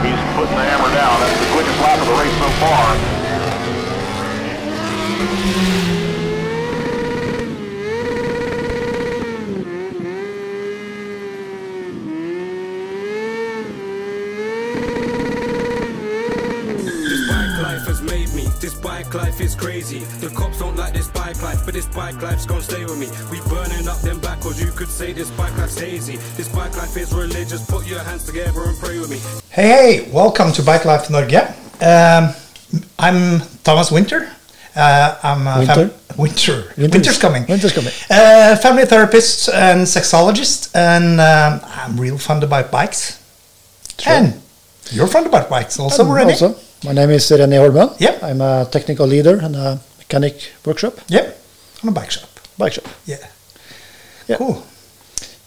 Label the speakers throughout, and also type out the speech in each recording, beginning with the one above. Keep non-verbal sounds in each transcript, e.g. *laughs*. Speaker 1: putting the hammer down. That's the quickest lap of the race so far.
Speaker 2: This bike life has made me. This bike life is crazy. The cops don't like this bike life, but this bike life's gonna stay with me. We burning up them backwards. You could say this bike life's hazy. This bike life is religious. Put your hands together and pray with me.
Speaker 3: Hey, hey, welcome to Bike Life Norge. Um, I'm Thomas Winter. Uh, I'm a fam-
Speaker 4: Winter?
Speaker 3: Winter.
Speaker 4: Winter's-
Speaker 3: Winter's coming.
Speaker 4: Winter's coming.
Speaker 3: Uh, family therapist and sexologist, and um, I'm real fond about bikes. And you're fond about bikes also,
Speaker 4: And
Speaker 3: René?
Speaker 4: also, my name is René Holmen.
Speaker 3: Yeah.
Speaker 4: I'm a technical leader and a mechanic workshop,
Speaker 3: Yep, on a bike shop.
Speaker 4: bike shop.
Speaker 3: Yeah.
Speaker 4: Yeah.
Speaker 3: Cool.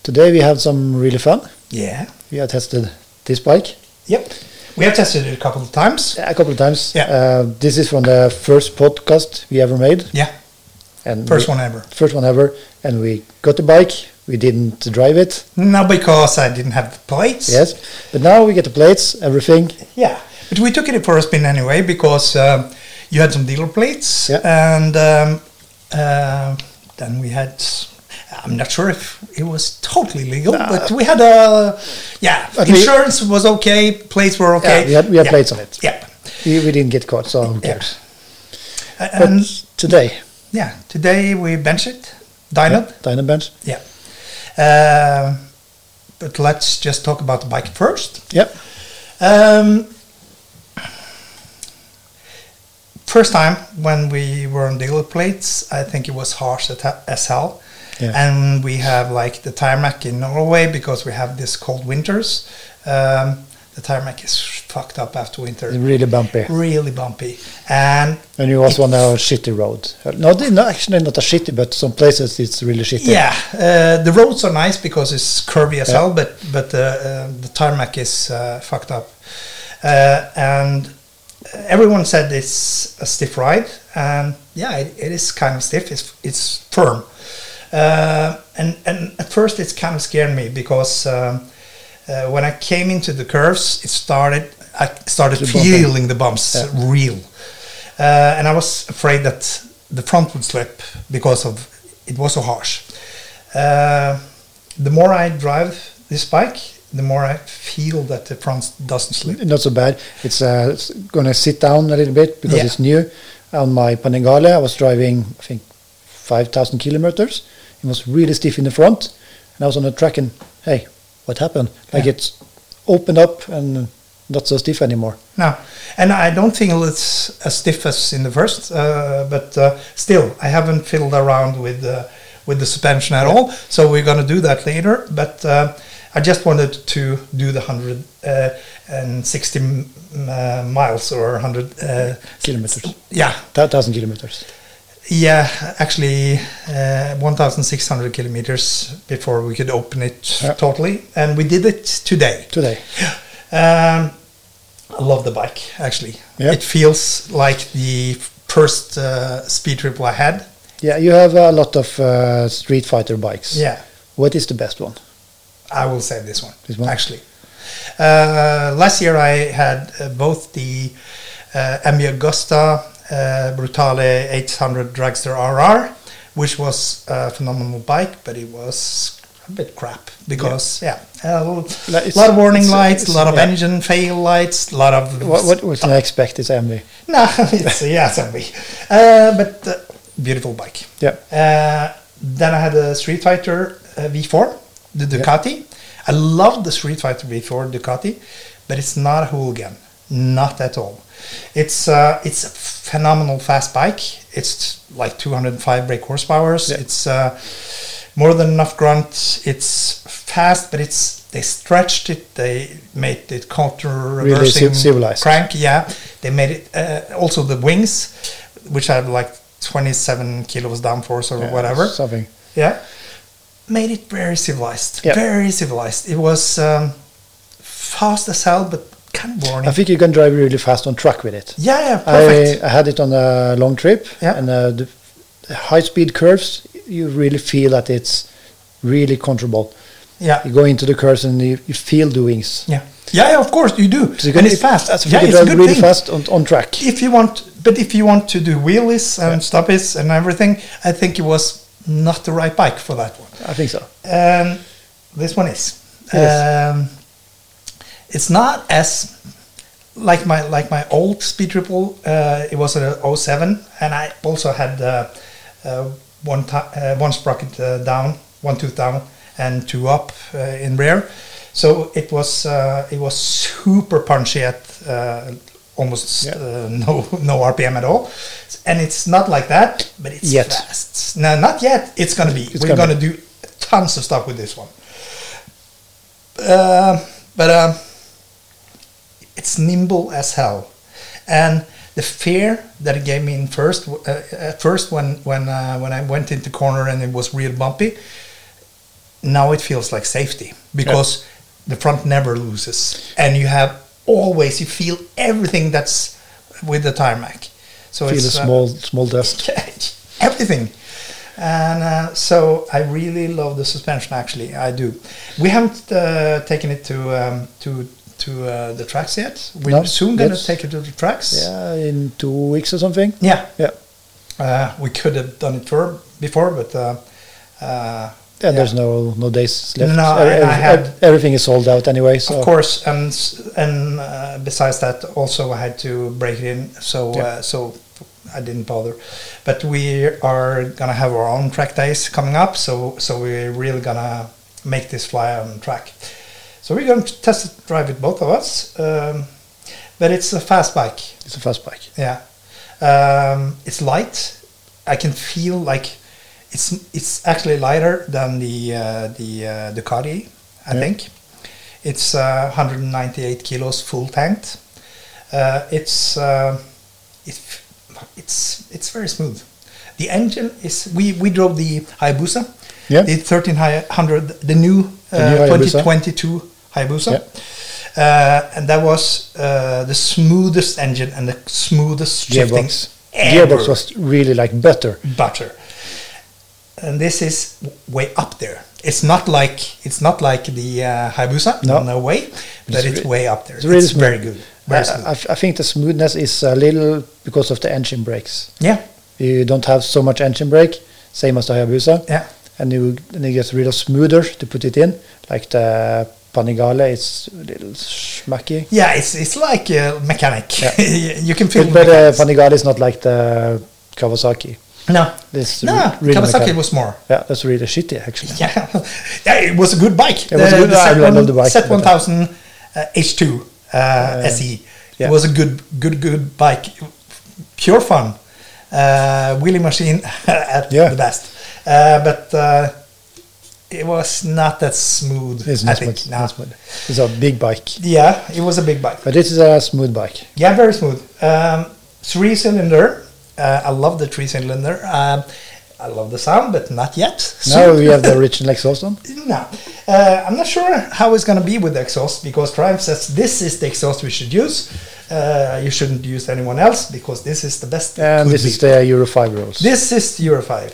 Speaker 4: Today we have some really fun.
Speaker 3: Yeah.
Speaker 4: We have tested this bike
Speaker 3: Yep. We have tested it a couple of times.
Speaker 4: a couple of times.
Speaker 3: Yeah.
Speaker 4: Uh, this is from the first podcast we ever made.
Speaker 3: Yeah.
Speaker 4: And
Speaker 3: First
Speaker 4: we-
Speaker 3: one ever.
Speaker 4: First one ever. And we got the bike. We didn't drive it.
Speaker 3: No, because I didn't have the plates.
Speaker 4: Yes. But now we get the plates, everything.
Speaker 3: Yeah, but we took it for a spin anyway because um, you had some dealer plates,
Speaker 4: Yeah.
Speaker 3: and um, uh, then we had. I'm not sure if it was totally legal, but we had a yeah.
Speaker 4: At least-
Speaker 3: insurance was okay, plates were okay.
Speaker 4: we had- we had plates on it.
Speaker 3: Yeah,
Speaker 4: We, we didn't get caught, so who
Speaker 3: Yeah.
Speaker 4: cares?
Speaker 3: A-
Speaker 4: But
Speaker 3: and
Speaker 4: today,
Speaker 3: yeah, today we bench it, dynoed.
Speaker 4: Dyna Bench.
Speaker 3: Yeah. Uh, but let's just talk about the bike first.
Speaker 4: Yep.
Speaker 3: Um, first time when we were on dealer plates, I think it was harsh at he- as hell.
Speaker 4: Yeah.
Speaker 3: And we have like the tarmac in Norway because we have these cold winters. Um, the tarmac is fucked up after winter.
Speaker 4: It's really bumpy.
Speaker 3: Really bumpy. And
Speaker 4: And you also on a shitty road. No, th- no, actually not a shitty, but some places it's really shitty.
Speaker 3: yeah, uh, the roads are nice because it's curvy as hell, but but uh, uh, the tarmac is uh, fucked up. Uh, and everyone said it's a stiff ride, and yeah, it, it is kind of stiff. It's it's firm, uh, and and at first it's kind of scared me because um, uh, when I came into the curves, it started. I started
Speaker 4: The bumping.
Speaker 3: feeling the bumps real, uh, and I was afraid that the front would slip because of it was so harsh. Uh, the more I drive this bike, the more I feel that the front doesn't slip.
Speaker 4: Not so bad. It's, uh, it's going to sit down a little bit because
Speaker 3: Yeah.
Speaker 4: it's new. On my Panigale, I was driving, I think, 5,000 kilometers. It was really stiff in the front. And I was on the track and, hey, what happened? Like
Speaker 3: Yeah.
Speaker 4: it's opened up and not so stiff anymore.
Speaker 3: No, and I don't feel it's as stiff as in the first, uh, but uh, still, I haven't fiddled around with uh, with the suspension at all. So we're going to do that later. But uh, I just wanted to do the hundred uh, and sixty m- uh, miles or hundred uh,
Speaker 4: Kilometers.
Speaker 3: Yeah,
Speaker 4: 1,000 kilometers.
Speaker 3: yeah, actually, uh, 1,600 kilometers before we could open it
Speaker 4: Yeah.
Speaker 3: totally, and we did it today.
Speaker 4: Today.
Speaker 3: Um, I love the bike actually.
Speaker 4: Yeah.
Speaker 3: It feels like the first uh, speed trip I had.
Speaker 4: Yeah, you have a lot of uh, Street Fighter bikes.
Speaker 3: Yeah,
Speaker 4: What is the best one?
Speaker 3: I will say this one.
Speaker 4: This one?
Speaker 3: actually. Uh, last year I had uh, both the uh, MB Augusta uh, Brutale 800 Dragster RR, which was a phenomenal bike, but it was a bit crap because yeah, a
Speaker 4: Like, it's-
Speaker 3: lot of warning
Speaker 4: it's-
Speaker 3: lights, a
Speaker 4: it's-
Speaker 3: lot of
Speaker 4: yeah.
Speaker 3: engine fail lights, a lot of
Speaker 4: What,
Speaker 3: *laughs*
Speaker 4: what was I expect? It's MV.
Speaker 3: No, it's yeah, zombie. Uh, but uh, beautiful bike.
Speaker 4: Yeah.
Speaker 3: Uh, then I had a Street Fighter uh, V4, the Ducati. I love the Street Fighter V4 Ducati, but it's not a hooligan, not at all. It's uh, it's a phenomenal fast bike. It's like 205 brake horsepower. It's uh, more than enough grunt. It's fast, but it's they stretched it. They made it counter reversing
Speaker 4: civ- civilized.
Speaker 3: crank. Yeah, they made it. Uh, also the wings, which have like 27 kilos downforce or
Speaker 4: Yeah,
Speaker 3: whatever.
Speaker 4: Something.
Speaker 3: Yeah, made it very civilized.
Speaker 4: Yeah.
Speaker 3: Very civilized. It was um, fast as hell, but kind of boring.
Speaker 4: I think you can drive really fast on track with it.
Speaker 3: yeah, yeah, perfect.
Speaker 4: I, I had it on a long trip,
Speaker 3: Yeah.
Speaker 4: and uh, the high speed curves, you really feel that it's really controllable.
Speaker 3: yeah,
Speaker 4: You go into the curves and you, you feel the wings.
Speaker 3: yeah. Yeah, of course you do.
Speaker 4: So you
Speaker 3: and
Speaker 4: can-
Speaker 3: it's fast.
Speaker 4: So
Speaker 3: yeah,
Speaker 4: you can
Speaker 3: it's a
Speaker 4: drive
Speaker 3: good
Speaker 4: really
Speaker 3: thing.
Speaker 4: fast on, on track.
Speaker 3: If you want, but if you want to do wheelies and stoppies and everything, I think it was not the right bike for that one.
Speaker 4: I think so.
Speaker 3: Um, this one is.
Speaker 4: Yes.
Speaker 3: Um, it's not as like my like my old speed triple. Uh, it was a 07 and I also had uh, uh, one ti uh, one sprocket uh, down, one tooth down, and two up uh, in rear. So it was uh, it was super punchy at uh, almost
Speaker 4: Yeah.
Speaker 3: uh, no no RPM at all, and it's not like that, but it's
Speaker 4: Yet.
Speaker 3: fast. No, not yet. It's gonna be.
Speaker 4: It's
Speaker 3: We're
Speaker 4: gonna
Speaker 3: gonna do tons of stuff with this one. Um, but um, it's nimble as hell, and the fear that it gave me in first uh, at first when when uh, when I went into corner and it was real bumpy. Now it feels like safety because the front never loses, and you have always you feel everything that's with the tarmac. So
Speaker 4: Feel a
Speaker 3: it's uh,
Speaker 4: small small *laughs* dust.
Speaker 3: everything. And uh, so I really love the suspension. Actually, I do. We haven't uh, taken it to um, to to uh, the tracks yet. We're
Speaker 4: No,
Speaker 3: soon going to
Speaker 4: that's-
Speaker 3: take it to the tracks.
Speaker 4: Yeah, in two weeks or something.
Speaker 3: Yeah.
Speaker 4: Yeah.
Speaker 3: Uh, we could have done it for, before, but uh, uh,
Speaker 4: Yeah, there's no no days left.
Speaker 3: No,
Speaker 4: Every-
Speaker 3: and I
Speaker 4: every-
Speaker 3: had-
Speaker 4: everything is sold out anyway. So
Speaker 3: of course, and s- and uh, besides that, also I had to break it in, so uh,
Speaker 4: Yeah.
Speaker 3: so I didn't bother. But we are gonna have our own track days coming up, so so we're really gonna make this fly on track. So we're gonna test drive it both of us, um, but it's a fast bike.
Speaker 4: it's a fast bike.
Speaker 3: Yeah, um, it's light. I can feel like it's it's actually lighter than the uh, the uh, Ducati. I
Speaker 4: Yeah.
Speaker 3: think it's uh, 198 kilos full tanked. Uh, it's uh, it, it's it's very smooth. The engine is we we drove the Hayabusa,
Speaker 4: Yeah.
Speaker 3: the 1300, the new, uh,
Speaker 4: The new Hayabusa.
Speaker 3: 2022 Hayabusa.
Speaker 4: Yeah.
Speaker 3: Uh, and that was uh, the smoothest engine and the smoothest shifting
Speaker 4: Gearbox.
Speaker 3: ever.
Speaker 4: Gearbox was really like better.
Speaker 3: butter. And this is w- way up there. It's not like it's not like the uh, Hayabusa,
Speaker 4: No.
Speaker 3: no, way, but it's,
Speaker 4: It's re-
Speaker 3: way up there.
Speaker 4: it's really
Speaker 3: it's very
Speaker 4: smooth. Uh,
Speaker 3: good. Very
Speaker 4: I-
Speaker 3: smooth.
Speaker 4: I, I think the smoothness is a little because of the engine brakes.
Speaker 3: yeah,
Speaker 4: You don't have so much engine brake, same as the Hayabusa.
Speaker 3: yeah,
Speaker 4: And you, and you get rid of smoother to put it in, like the Panigale. It's a little schmacky.
Speaker 3: yeah. It's it's like a mechanic.
Speaker 4: Yeah.
Speaker 3: *laughs* you can feel.
Speaker 4: But, but uh,
Speaker 3: mechanics.
Speaker 4: Panigale is not like the Kawasaki.
Speaker 3: no,
Speaker 4: This
Speaker 3: no.
Speaker 4: re- really
Speaker 3: Kawasaki
Speaker 4: mechanic.
Speaker 3: was more.
Speaker 4: Yeah, that's really shitty actually. *laughs*
Speaker 3: Yeah, yeah. It was a good bike.
Speaker 4: It was a good- I
Speaker 3: set
Speaker 4: love the bike,
Speaker 3: Set
Speaker 4: but-
Speaker 3: 1000 uh, H2 uh, SE.
Speaker 4: yeah.
Speaker 3: It was a good, good, good bike. Pure fun. Uh, wheelie machine *laughs* at
Speaker 4: Yeah.
Speaker 3: the best. Uh, but uh, it was not that smooth.
Speaker 4: It's
Speaker 3: I
Speaker 4: not
Speaker 3: think.
Speaker 4: smooth.
Speaker 3: no.
Speaker 4: not smooth. It's a big bike,
Speaker 3: Yeah, it was a big bike.
Speaker 4: but this is a smooth bike.
Speaker 3: Yeah, very smooth. Um, three cylinder. Uh, I love the three cylinder. Um, I love the sound, but not yet.
Speaker 4: Now
Speaker 3: Soon.
Speaker 4: we have the original exhaust on.
Speaker 3: No, uh, I'm not sure how it's going to be with the exhaust because Triumph says this is the exhaust we should use. Uh, you shouldn't use anyone else because this is the best. it *laughs*
Speaker 4: And
Speaker 3: could
Speaker 4: this
Speaker 3: be.
Speaker 4: is the Euro 5 rules.
Speaker 3: this is Euro five.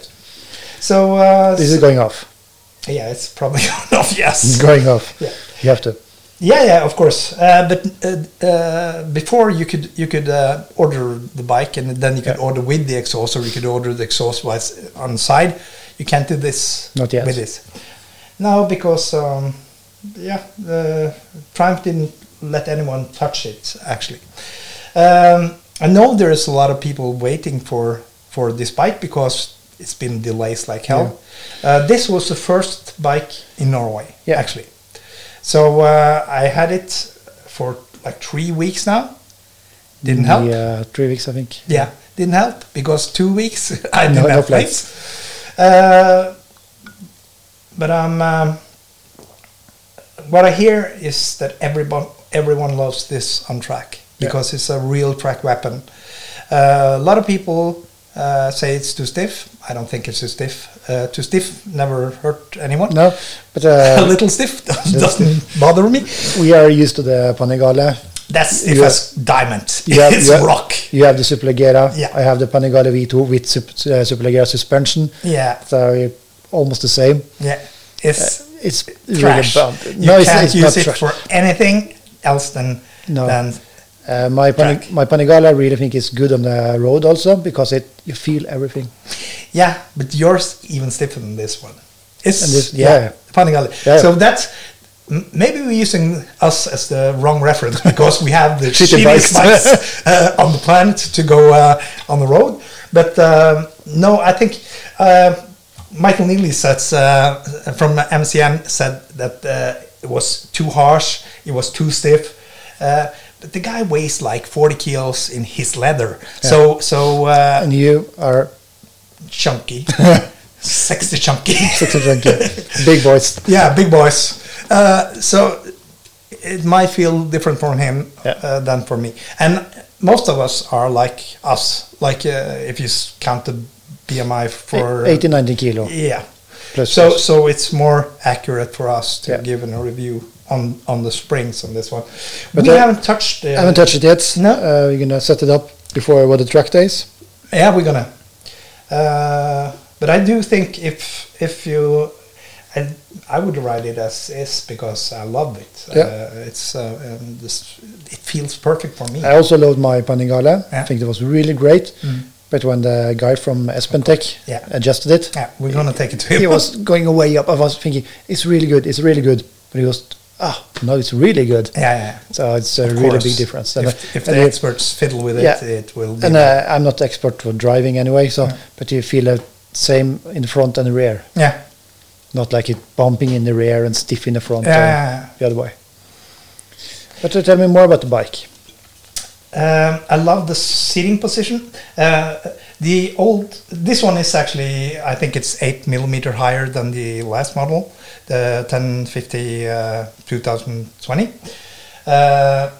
Speaker 3: So uh,
Speaker 4: this is going off.
Speaker 3: yeah, it's probably *laughs* going off.
Speaker 4: It's
Speaker 3: Yes.
Speaker 4: going off.
Speaker 3: Mm. Yeah.
Speaker 4: You have to.
Speaker 3: Yeah, yeah, of course. Uh, but uh, uh, before you could you could uh, order the bike and then you could
Speaker 4: Yeah.
Speaker 3: order with the exhaust or you could order the exhaust while it's on side. You can't do this
Speaker 4: Not yet.
Speaker 3: with this. No, because um, yeah, the Triumph didn't let anyone touch it actually. Um, I know there is a lot of people waiting for for this bike because it's been delays like hell. Uh, this was the first bike in Norway
Speaker 4: Yeah.
Speaker 3: actually. So uh, I had it for like three weeks now. Didn't help. Yeah,
Speaker 4: Yeah, uh, three weeks, I think.
Speaker 3: didn't help because two weeks *laughs* I
Speaker 4: No-
Speaker 3: didn't
Speaker 4: no
Speaker 3: have
Speaker 4: plates.
Speaker 3: plates. Uh, but I'm. Um, what I hear is that everyone everyone loves this on track
Speaker 4: Yeah.
Speaker 3: because it's a real track weapon. Uh, a lot of people uh, say it's too stiff. I don't think it's too stiff. Uh, too stiff never hurt anyone
Speaker 4: No, but
Speaker 3: *laughs* a
Speaker 4: uh,
Speaker 3: little stiff doesn't bother me.
Speaker 4: we are used to the Panigale.
Speaker 3: That's stiff
Speaker 4: Yeah.
Speaker 3: as diamond. *laughs*
Speaker 4: You have-
Speaker 3: it's
Speaker 4: you have-
Speaker 3: rock.
Speaker 4: You have the Superleggera.
Speaker 3: Yeah.
Speaker 4: I have the Panigale V2 with sup- uh, Superleggera suspension.
Speaker 3: Yeah,
Speaker 4: So uh, almost the same.
Speaker 3: yeah. It's
Speaker 4: Uh, It's really
Speaker 3: trash.
Speaker 4: bump.
Speaker 3: You can't use it for anything else than
Speaker 4: No.
Speaker 3: than
Speaker 4: Uh, my Pan-
Speaker 3: Track.
Speaker 4: my Panigale, I really think is good on the road also because it you feel everything.
Speaker 3: Yeah, but yours even stiffer than this one. It's
Speaker 4: And this- yeah.
Speaker 3: Panigale.
Speaker 4: Yeah.
Speaker 3: So that's m- maybe we're using us as the wrong reference *laughs* because we have the
Speaker 4: Shitty
Speaker 3: shitty
Speaker 4: bikes.
Speaker 3: bikes *laughs* uh, on the planet to go uh, on the road. But um, no, I think uh, Michael Neely says uh, from MCM said that uh, it was too harsh, it was too stiff. Uh, but the guy weighs like 40 kilos in his leather, so so uh,
Speaker 4: And you are
Speaker 3: *laughs*
Speaker 4: *laughs*
Speaker 3: chunky, sexy chunky.
Speaker 4: such a junkie, big voice.
Speaker 3: *laughs* yeah, big boys. Uh, so it might feel different for him
Speaker 4: Yeah.
Speaker 3: uh, than for me. And most of us are like us, like uh, if you s- count the BMI for
Speaker 4: 18, 19 kilo.
Speaker 3: yeah.
Speaker 4: Plus-
Speaker 3: so
Speaker 4: plus.
Speaker 3: so it's more accurate for us to
Speaker 4: Yeah.
Speaker 3: give an, a review on on the springs on this one.
Speaker 4: But
Speaker 3: we
Speaker 4: I-
Speaker 3: haven't touched. uh,
Speaker 4: I haven't touched it yet.
Speaker 3: No.
Speaker 4: Uh, we're gonna set it up before what the track days.
Speaker 3: Yeah, we're gonna. Uh, but I do think if if you, I, I would write it as is because I love it.
Speaker 4: Yeah.
Speaker 3: Uh, it's uh, um, this, it feels perfect for me.
Speaker 4: I also loved my Panigale. I
Speaker 3: Yeah. Mm.
Speaker 4: think that was really great. But when the guy from Espentech
Speaker 3: Yeah.
Speaker 4: adjusted it,
Speaker 3: yeah, we're gonna take it to him.
Speaker 4: he was going away up. I was thinking it's really good, it's really good. But he was ah no, it's really good.
Speaker 3: *laughs* yeah, yeah,
Speaker 4: So it's a
Speaker 3: of
Speaker 4: really
Speaker 3: course.
Speaker 4: big difference. And,
Speaker 3: If,
Speaker 4: uh,
Speaker 3: if the
Speaker 4: and,
Speaker 3: experts fiddle with it,
Speaker 4: Yeah.
Speaker 3: it will. Be
Speaker 4: and uh, I'm not expert for driving anyway. So but you feel the same in the front and the rear,
Speaker 3: yeah,
Speaker 4: not like it bumping in the rear and stiff in the front
Speaker 3: Yeah,
Speaker 4: or
Speaker 3: yeah, yeah.
Speaker 4: the other way. But uh, tell me more about the bike.
Speaker 3: Um, I love the seating position. Uh, the old, this one is actually, I think it's eight millimeter higher than the last model, the 1050 uh, 2020. Uh,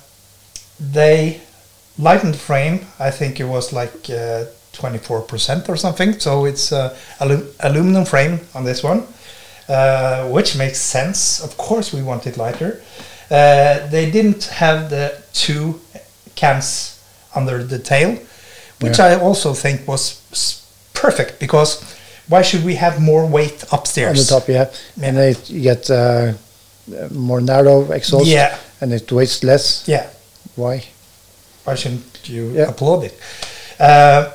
Speaker 3: they lightened the frame. I think it was like uh, 24% or something. So it's uh, alu- aluminum frame on this one, uh, which makes sense. Of course, we want it lighter. Uh, they didn't have the two cams under the tail, which I also think was s- perfect because why should we have more weight
Speaker 4: on
Speaker 3: upstairs?
Speaker 4: the top, yeah. And
Speaker 3: Yeah.
Speaker 4: it, you get uh, uh, more narrow exhaust,
Speaker 3: Yeah.
Speaker 4: and it weighs less.
Speaker 3: Yeah.
Speaker 4: Why?
Speaker 3: why shouldn't you
Speaker 4: Yeah.
Speaker 3: applaud it? Uh,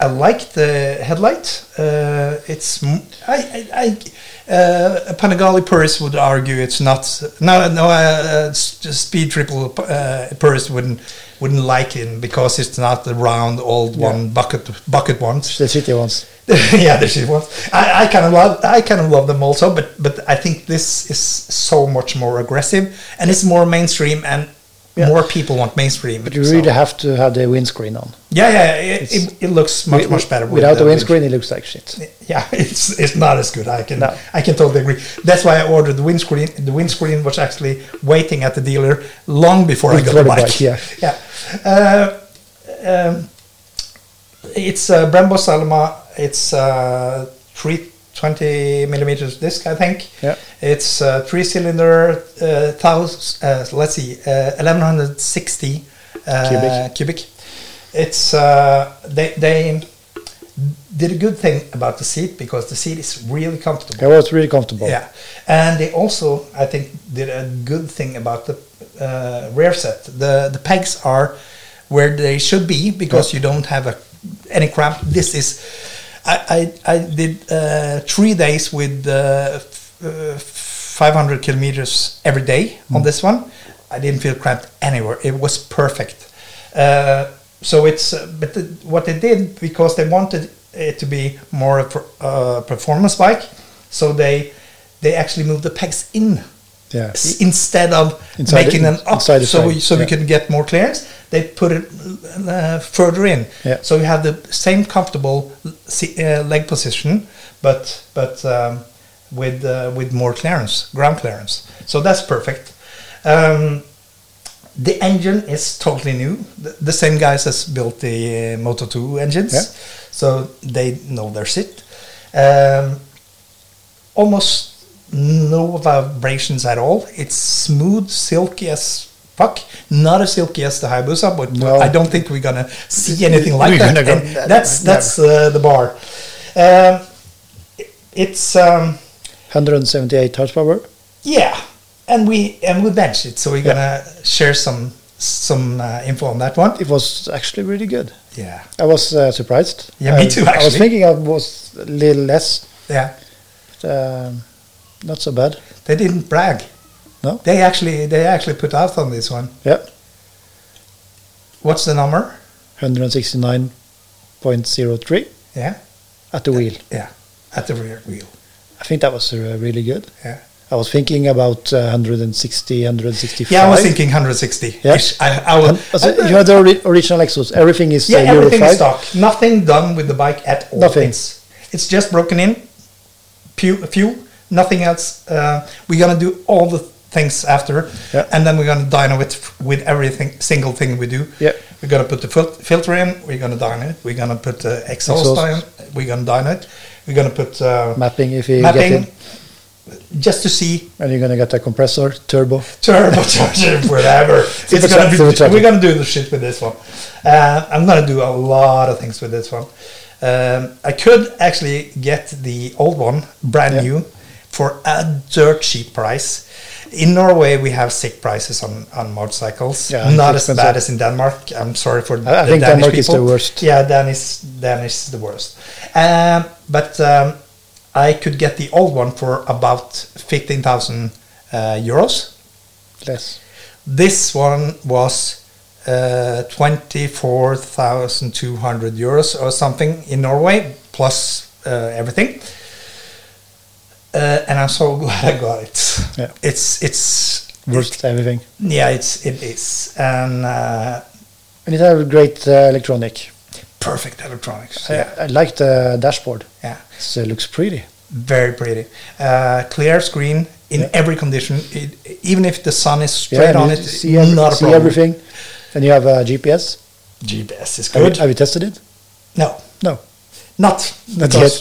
Speaker 3: I like the headlight. Uh, it's m- I I, I uh, a Panigale purist would argue it's not no no uh, s- just speed triple uh, purist wouldn't wouldn't like it because it's not the round old
Speaker 4: Yeah.
Speaker 3: one bucket bucket ones.
Speaker 4: The city ones.
Speaker 3: *laughs* yeah, there she was. I, I kind of love I kind of love them also, but but I think this is so much more aggressive and it's more mainstream and
Speaker 4: Yeah.
Speaker 3: more people want mainstream.
Speaker 4: But you really
Speaker 3: so-
Speaker 4: have to have the windscreen on.
Speaker 3: yeah, yeah, it,
Speaker 4: It's-
Speaker 3: it, it looks much
Speaker 4: Wi-
Speaker 3: much better with
Speaker 4: Without the
Speaker 3: wind-
Speaker 4: windscreen, it looks like shit.
Speaker 3: Yeah, *laughs* it's it's not as good. I can
Speaker 4: No.
Speaker 3: I can totally agree. That's why I ordered the windscreen. The windscreen was actually waiting at the dealer long before I got
Speaker 4: Before
Speaker 3: the
Speaker 4: the
Speaker 3: bike.
Speaker 4: bike, yeah.
Speaker 3: *laughs* yeah. Uh, um, it's uh, Brembo Salma. It's uh, 320 millimeters disc, I think.
Speaker 4: Yeah.
Speaker 3: It's uh, three cylinder, uh, thousand, uh, let's see, uh, 1160 uh, cubic. It's uh, they they did a good thing about the seat because the seat is really comfortable.
Speaker 4: It was really comfortable.
Speaker 3: Yeah, and they also, I think, did a good thing about the uh, rear set. the The pegs are where they should be because you don't have a any cramp. This is, I I, I did uh, three days with uh, f- uh, 500 kilometers every day on this one. I didn't feel cramped anywhere. It was perfect. Uh, so it's uh, but the, what they did because they wanted it to be more a per, uh, performance bike, so they they actually moved the pegs in
Speaker 4: Yeah.
Speaker 3: s- instead of
Speaker 4: Inside the-
Speaker 3: making them up
Speaker 4: inside the
Speaker 3: so
Speaker 4: frame,
Speaker 3: we, so we
Speaker 4: yeah.
Speaker 3: could get more clearance they put it uh, further in
Speaker 4: Yeah.
Speaker 3: so you have the same comfortable l- se- uh, leg position but but um, with uh, with more clearance ground clearance so that's perfect um, the engine is totally new the, the same guys as built the uh, moto 2 engines
Speaker 4: Yeah.
Speaker 3: so they know their shit um, almost no vibrations at all. It's smooth, silky as fuck. Not as silky as the Hayabusa, but
Speaker 4: No.
Speaker 3: I don't think we're gonna see anything like
Speaker 4: We're
Speaker 3: that.
Speaker 4: gonna go-
Speaker 3: And that's that's uh, the bar. Um, it- it's um,
Speaker 4: 178 horsepower.
Speaker 3: yeah, and we and we benched it. So we're gonna share some some uh, info on that one.
Speaker 4: It was actually really good.
Speaker 3: Yeah,
Speaker 4: I was uh, surprised.
Speaker 3: Yeah, me
Speaker 4: I-
Speaker 3: too,
Speaker 4: I was
Speaker 3: actually.
Speaker 4: thinking I was a little less,
Speaker 3: yeah.
Speaker 4: but, um, not so bad.
Speaker 3: They didn't brag.
Speaker 4: No?
Speaker 3: They actually they actually put out on this one.
Speaker 4: Yeah,
Speaker 3: What's the number?
Speaker 4: 169.03
Speaker 3: Yeah,
Speaker 4: at the wheel.
Speaker 3: yeah. At the rear wheel.
Speaker 4: I think that was uh, really good.
Speaker 3: Yeah.
Speaker 4: I was thinking about uh, 160, 165.
Speaker 3: Yeah, I was thinking 160.
Speaker 4: Yeah.
Speaker 3: -ish. I, I was.
Speaker 4: And also, you know the ori- original Lexus. Everything is
Speaker 3: yeah,
Speaker 4: uh, Euro
Speaker 3: everything is
Speaker 4: 5.
Speaker 3: stock. Nothing done with the bike at all.
Speaker 4: Nothing.
Speaker 3: It's, it's just broken in. Pew, few, nothing else. Uh, we're gonna do all the things after,
Speaker 4: Yeah.
Speaker 3: and then we're gonna dyno it f- with everything, single thing we do.
Speaker 4: Yeah.
Speaker 3: We're gonna put the fil- filter in. We're gonna dyno it. We're gonna put the exhaust,
Speaker 4: Exhaust.
Speaker 3: in. We're gonna dyno it. We're gonna put uh,
Speaker 4: Mapping if you get
Speaker 3: mapping
Speaker 4: in.
Speaker 3: just to see
Speaker 4: And you're going to get a compressor, turbo.
Speaker 3: turbocharger, whatever. it's gonna be,
Speaker 4: Supercharger.
Speaker 3: we're gonna do the shit with this one. Uh, I'm gonna do a lot of things with this one. Um, I could actually get the old one, brand
Speaker 4: Yeah.
Speaker 3: new, for a dirt cheap price. In Norway, we have sick prices on, on motorcycles.
Speaker 4: Yeah, it's
Speaker 3: Not as
Speaker 4: expensive.
Speaker 3: bad as in Denmark. I'm sorry for the
Speaker 4: I think
Speaker 3: Danish
Speaker 4: Denmark is
Speaker 3: people.
Speaker 4: the worst.
Speaker 3: Yeah, Danish Danish is the worst. Um, but um, I could get the old one for about fifteen thousand uh, euros.
Speaker 4: Less.
Speaker 3: This one was uh, 24,200 euros or something in Norway, plus uh, everything. Uh, and I'm so *laughs* glad I got it.
Speaker 4: Yeah.
Speaker 3: It's, it's,
Speaker 4: Worth everything.
Speaker 3: yeah, it's, it is. And uh,
Speaker 4: And it had great uh, electronic.
Speaker 3: perfect electronics.
Speaker 4: I-
Speaker 3: Yeah.
Speaker 4: I, like the dashboard.
Speaker 3: Yeah.
Speaker 4: It's, uh, looks pretty.
Speaker 3: Very pretty. Uh, clear screen in
Speaker 4: Yeah.
Speaker 3: every condition. It, even if the sun is
Speaker 4: Yeah,
Speaker 3: straight
Speaker 4: and
Speaker 3: on
Speaker 4: you
Speaker 3: it,
Speaker 4: see, every-
Speaker 3: not a
Speaker 4: see
Speaker 3: problem.
Speaker 4: everything. And you have uh, GPS.
Speaker 3: GPS is
Speaker 4: Have
Speaker 3: good.
Speaker 4: you, have you tested it?
Speaker 3: no.
Speaker 4: No.
Speaker 3: Not
Speaker 4: Not
Speaker 3: because,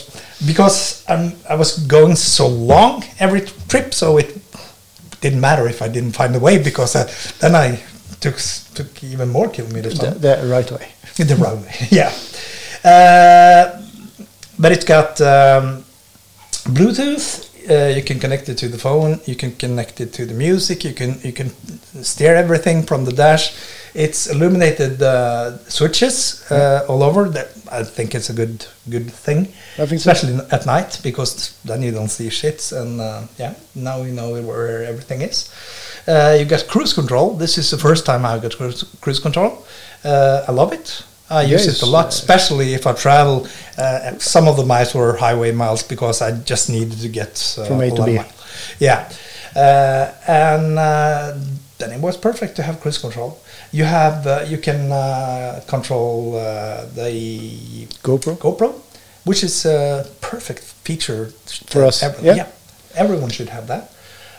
Speaker 3: because um, I was going so long every t- trip, so it didn't matter if I didn't find the way because I, then I took s- took even more kilometers
Speaker 4: The,
Speaker 3: on
Speaker 4: the right way.
Speaker 3: the, wrong way. *laughs* Yeah, uh, but it's got um, Bluetooth. Uh, you can connect it to the phone. You can connect it to the music. You can you can steer everything from the dash. It's illuminated uh, switches uh, all over. That I think it's a good good thing,
Speaker 4: Mm-hmm. I think so.
Speaker 3: especially n- at night because then you don't see shits. And uh, yeah, now we know where everything is. Uh, you got cruise control. This is the first time I got cruise, cruise control. Uh, I love it. I use
Speaker 4: Yes,
Speaker 3: it a lot,
Speaker 4: uh,
Speaker 3: especially if I travel. Uh, some of the miles were highway miles because I just needed to get uh,
Speaker 4: From A to
Speaker 3: lot of
Speaker 4: B.
Speaker 3: mile. Yeah, uh, and uh, then it was perfect to have cruise control. You have uh, you can uh, control uh, the
Speaker 4: GoPro?
Speaker 3: GoPro, which is a perfect feature
Speaker 4: For us,
Speaker 3: every-
Speaker 4: yeah.
Speaker 3: everyone should have that.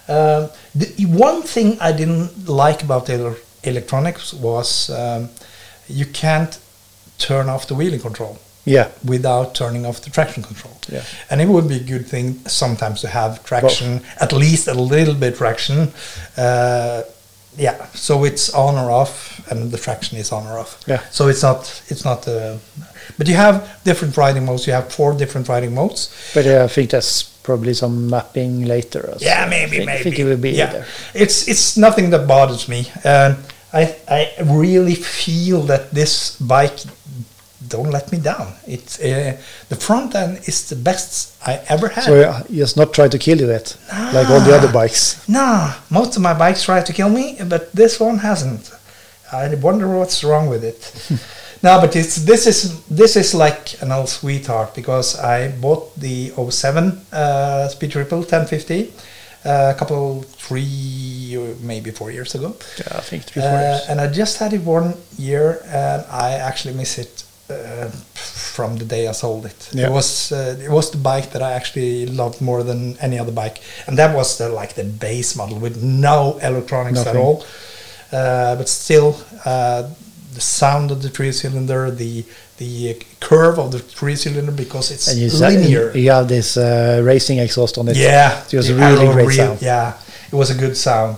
Speaker 3: Um, the one thing I didn't like about the ele- electronics was um, you can't turn off the wheeling control
Speaker 4: Yeah.
Speaker 3: without turning off the traction control.
Speaker 4: Yeah.
Speaker 3: And it would be a good thing sometimes to have traction, at least a little bit traction. Uh, yeah, so it's on or off, and the traction is on or off.
Speaker 4: Yeah.
Speaker 3: So it's not it's not. Uh, but you have different riding modes. You have four different riding modes.
Speaker 4: But uh, I think that's probably some mapping later. or
Speaker 3: Yeah,
Speaker 4: so.
Speaker 3: maybe,
Speaker 4: I think,
Speaker 3: maybe.
Speaker 4: I think it will be
Speaker 3: yeah.
Speaker 4: there.
Speaker 3: It's it's nothing that bothers me. Um, I I really feel that this bike don't let me down. It's uh, the front end is the best I ever had.
Speaker 4: So uh, just not try to kill you yet,
Speaker 3: Ah.
Speaker 4: like all the other bikes.
Speaker 3: Nah, most of my bikes try to kill me, but this one hasn't. I wonder what's wrong with it. no, but it's this is this is like an old sweetheart because I bought the 07 uh, Speed Triple 1050 uh, a couple three or maybe four years ago.
Speaker 4: Yeah, I think three,
Speaker 3: Uh, and I just had it one year, and I actually miss it uh, from the day I sold it.
Speaker 4: Yeah.
Speaker 3: It was uh, it was the bike that I actually loved more than any other bike, and that was the like the base model with no electronics at
Speaker 4: Nothing.
Speaker 3: all. Uh, but still, uh, the sound of the three cylinder, the the curve of the three cylinder because it's
Speaker 4: And you, sa-
Speaker 3: linear.
Speaker 4: you have this uh, racing exhaust on it.
Speaker 3: Yeah,
Speaker 4: It was
Speaker 3: the
Speaker 4: really
Speaker 3: Arrow
Speaker 4: great
Speaker 3: reel,
Speaker 4: sound.
Speaker 3: Yeah, it was a good sound.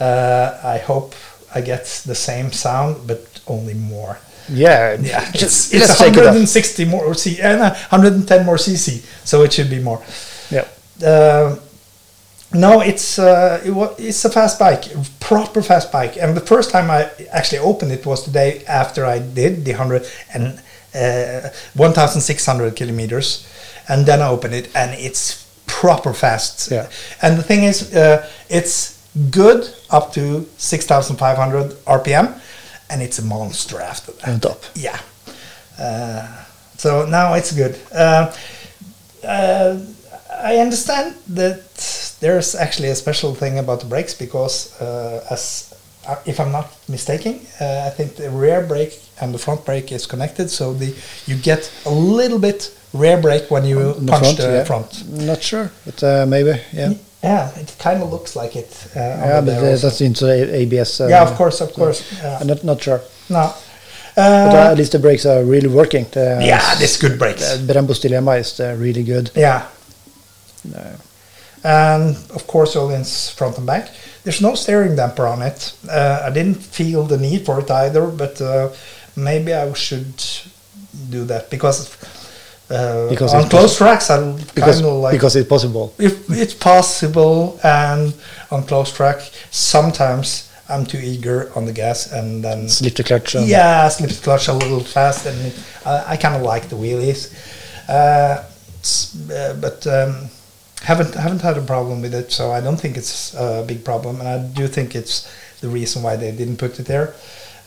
Speaker 3: Uh, I hope I get the same sound, but only more.
Speaker 4: Yeah.
Speaker 3: Yeah,
Speaker 4: Just
Speaker 3: it's, it's
Speaker 4: let's take it up.
Speaker 3: 160 more c and 110 more cc, so it should be more.
Speaker 4: Yeah.
Speaker 3: Um No, it's uh, it wa- it's a fast bike, proper fast bike. And the first time I actually opened it was the day after I did the hundred and uh, one thousand six hundred kilometers, and then I opened it, and it's proper fast.
Speaker 4: Yeah.
Speaker 3: And the thing is, uh, it's good up to six thousand five hundred RPM, and it's a monster after that.
Speaker 4: on top.
Speaker 3: Yeah. Uh, so now it's good. Uh, uh, I understand that there's actually a special thing about the brakes because, uh, as uh, if I'm not mistaken, uh, I think the rear brake and the front brake is connected, so the you get a little bit rear brake when you
Speaker 4: On
Speaker 3: punch the front.
Speaker 4: Not sure, but uh, maybe, yeah.
Speaker 3: Yeah, it kind of looks like it. Uh,
Speaker 4: Yeah, but uh, that's into the ABS. Uh,
Speaker 3: yeah, of course, of course. Yeah.
Speaker 4: I'm not, not sure.
Speaker 3: No.
Speaker 4: But uh,
Speaker 3: Uh,
Speaker 4: at least the brakes are really working. The,
Speaker 3: yeah, this good brakes.
Speaker 4: The Brembo's dilemma is uh, really good.
Speaker 3: Yeah.
Speaker 4: No.
Speaker 3: And of course, Olin's front and back. There's no steering damper on it. Uh, I didn't feel the need for it either, but uh, maybe I should do that because, uh,
Speaker 4: Because
Speaker 3: on
Speaker 4: it's
Speaker 3: close tracks, I
Speaker 4: Because,
Speaker 3: kind of like
Speaker 4: because it's possible.
Speaker 3: if it's possible. And on close track, sometimes I'm too eager on the gas, and then
Speaker 4: Slip the clutch. And
Speaker 3: yeah, slip the clutch a little fast, and uh, I kind of like the wheelies, uh, s- uh, but um, haven't haven't had a problem with it, so I don't think it's a big problem, and I do think it's the reason why they didn't put it there.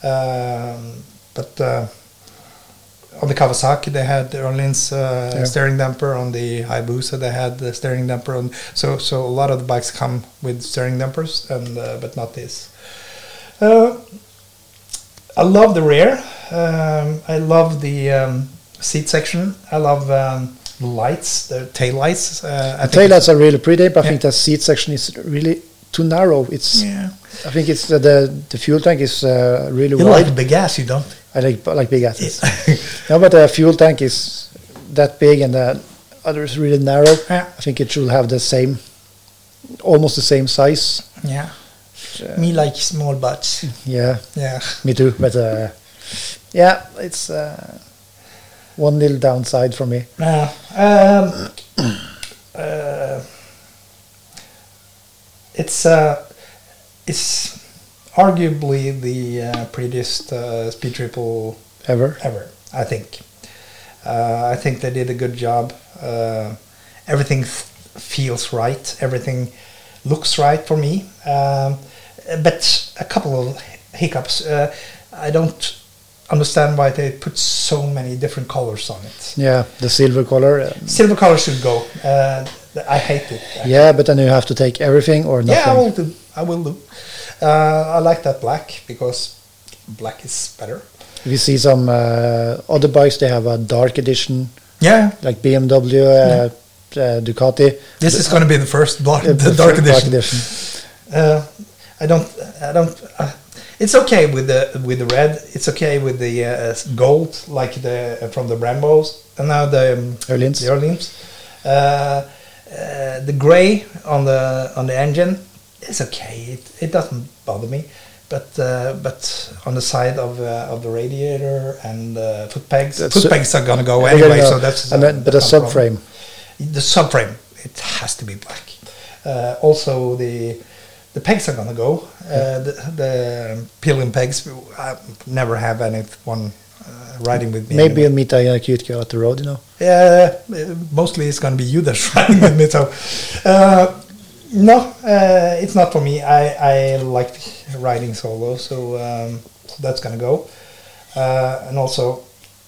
Speaker 3: Um, but uh, on the Kawasaki, they had the Orleans uh,
Speaker 4: Yeah.
Speaker 3: steering damper. On the Hayabusa, they had the steering damper. On so so a lot of the bikes come with steering dampers, and uh, but not this. Uh, I love the rear. Um, I love the um, seat section. I love um, the lights, the tail lights. Uh, I
Speaker 4: The
Speaker 3: think
Speaker 4: taillights are really pretty, but I
Speaker 3: Yeah.
Speaker 4: think the seat section is really too narrow. It's.
Speaker 3: Yeah.
Speaker 4: I think it's the the, the fuel tank is uh, really
Speaker 3: You
Speaker 4: wide.
Speaker 3: like big ass, you don't?
Speaker 4: I like I like big assets. no, but the fuel tank is that big and the other is really narrow.
Speaker 3: Yeah.
Speaker 4: I think it should have the same, almost the same size.
Speaker 3: *laughs* Yeah. Me like small
Speaker 4: *laughs*
Speaker 3: butts.
Speaker 4: Yeah,
Speaker 3: Yeah.
Speaker 4: me too. But uh, yeah, it's uh, one little downside for me.
Speaker 3: Now, um, uh, it's uh, it's arguably the uh, prettiest uh, speed triple
Speaker 4: Ever
Speaker 3: ever. I think. Uh, I think they did a good job. Uh, everything f- feels right. Everything looks right for me. Um, but a couple of hiccups. Uh, I don't understand why they put so many different colors on it.
Speaker 4: Yeah, the silver color. uh,
Speaker 3: Silver color should go. Uh, th- I hate it.
Speaker 4: yeah, but then you have to take everything or nothing.
Speaker 3: Yeah, I will do. I will do. Uh, I like that black because black is better.
Speaker 4: We see some uh, other bikes. They have a dark edition,
Speaker 3: Yeah,
Speaker 4: like BMW, uh, uh, Ducati.
Speaker 3: this is going to be the first black,
Speaker 4: Uh,
Speaker 3: *laughs* the
Speaker 4: the
Speaker 3: dark
Speaker 4: dark
Speaker 3: edition.
Speaker 4: edition.
Speaker 3: Uh, I don't. I don't. Uh, it's okay with the with the red. It's okay with the uh, s- gold, like the uh, from the Brambos and now the um,
Speaker 4: Orleans.
Speaker 3: The Orleans. Uh, uh, the gray on the on the engine is okay. It, it doesn't bother me, but uh, but on the side of uh, of the radiator and uh, foot pegs,
Speaker 4: That's
Speaker 3: foot
Speaker 4: it.
Speaker 3: pegs are gonna go
Speaker 4: Yeah,
Speaker 3: anyway.
Speaker 4: yeah, yeah.
Speaker 3: So that's
Speaker 4: And then- but
Speaker 3: that's
Speaker 4: a
Speaker 3: not problem
Speaker 4: subframe.
Speaker 3: the subframe it has to be black uh, also the the pegs are gonna go uh, the, the peeling pegs I never have anyone uh, riding with me
Speaker 4: Maybe
Speaker 3: anymore.
Speaker 4: you'll meet a, uh, cute girl at the road, you know.
Speaker 3: Yeah, uh, mostly it's going to be you that's *laughs* riding with me. So, uh, no, uh, it's not for me. I, I like riding solo, so, um, so that's going to go. Uh, and also,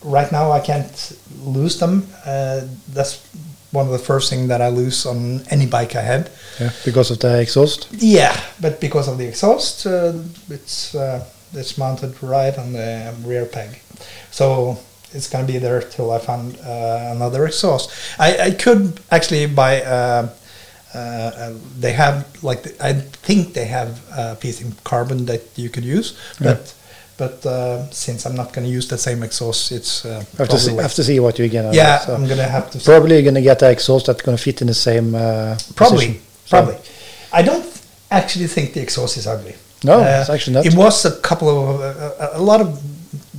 Speaker 3: right now I can't lose them. Uh, that's one of the first thing that I lose on any bike I had.
Speaker 4: Because of the exhaust.
Speaker 3: Yeah, but because of the exhaust, uh, it's uh, it's mounted right on the rear peg, so it's gonna be there till I find uh, another exhaust. I, I could actually buy. Uh, uh, uh, they have like the, I think they have a piece in carbon that you could use, but but uh, since I'm not gonna use the same exhaust, it's uh,
Speaker 4: Have to, see,
Speaker 3: probably-
Speaker 4: have to see what you're gonna.
Speaker 3: yeah,
Speaker 4: so
Speaker 3: I'm gonna have to
Speaker 4: Probably you're gonna get the exhaust that's gonna fit in the same. Uh,
Speaker 3: Probably,
Speaker 4: position. So-
Speaker 3: probably. I don't actually think the exhaust is ugly. Uh,
Speaker 4: No, it's actually not.
Speaker 3: It was a couple uh, of uh, a, a lot of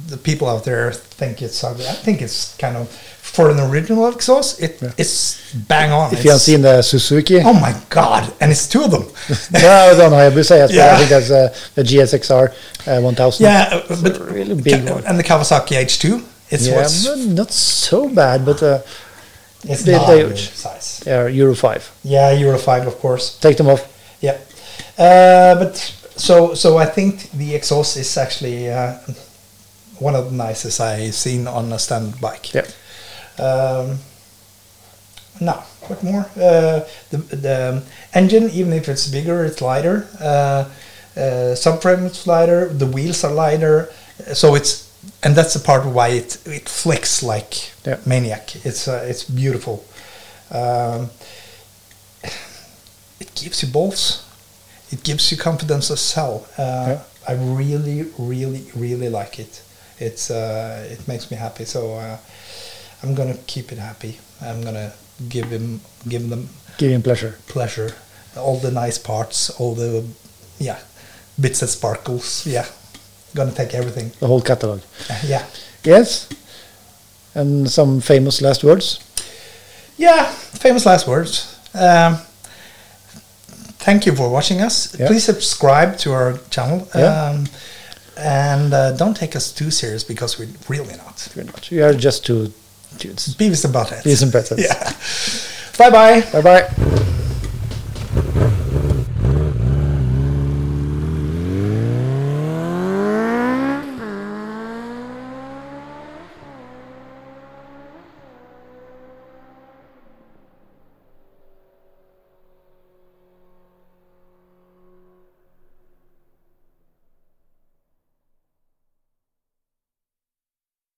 Speaker 3: the people out there think it's ugly. I think it's kind of for an original exhaust, it,
Speaker 4: Yeah.
Speaker 3: it's bang on.
Speaker 4: If you haven't
Speaker 3: It's-
Speaker 4: seen the Suzuki,
Speaker 3: Oh my god! And it's two of
Speaker 4: *laughs*
Speaker 3: them.
Speaker 4: no, I don't know. Hayabusa, yes, but
Speaker 3: Yeah.
Speaker 4: I think that's uh, the GSXR uh, 1000.
Speaker 3: yeah, uh,
Speaker 4: a
Speaker 3: but
Speaker 4: really big one.
Speaker 3: And the Kawasaki H2. It's
Speaker 4: yeah,
Speaker 3: what's
Speaker 4: but not so bad, but uh,
Speaker 3: it's
Speaker 4: they-
Speaker 3: not
Speaker 4: they-
Speaker 3: your size.
Speaker 4: yeah, Euro 5.
Speaker 3: Yeah, Euro five, of course.
Speaker 4: Take them off.
Speaker 3: Yeah, uh, but so so I think the exhaust is actually uh, one of the nicest I've seen on a standard bike.
Speaker 4: Yeah.
Speaker 3: Um, no, what more? Uh, the, the engine, even if it's bigger, it's lighter. Uh, uh, subframe is lighter. The wheels are lighter. So it's and that's the part why it it flicks like
Speaker 4: Yeah.
Speaker 3: maniac. It's uh, it's beautiful. Um, it gives you balls. It gives you confidence as hell. Uh,
Speaker 4: Yeah.
Speaker 3: I really, really, really like it. It's uh, it makes me happy. So uh, I'm gonna keep it happy. I'm gonna give him give them
Speaker 4: Give him pleasure.
Speaker 3: pleasure, all the nice parts, all the yeah bits that sparkles. Yeah, gonna take everything.
Speaker 4: The whole catalog.
Speaker 3: Yeah,
Speaker 4: Yes. And some famous last words.
Speaker 3: yeah. Famous last words. Um, thank you for watching us.
Speaker 4: Yeah.
Speaker 3: Please subscribe to our channel.
Speaker 4: Yeah.
Speaker 3: Um, and uh, don't take us too serious because we're really not.
Speaker 4: Pretty much. You are just two dudes.
Speaker 3: *laughs* Beavis and Butthead.
Speaker 4: Beavis and Buttheads.
Speaker 3: Yeah. Bye bye.
Speaker 4: Bye bye.